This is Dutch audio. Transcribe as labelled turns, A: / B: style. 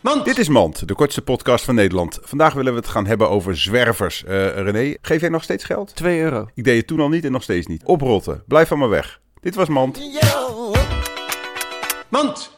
A: Mand!
B: Dit is Mand, de kortste podcast van Nederland. Vandaag willen we het gaan hebben over zwervers. Eh, René, geef jij nog steeds geld?
A: 2 euro.
B: Ik deed het toen al niet en nog steeds niet. Oprotten, blijf van me weg. Dit was Mand.
A: Mand!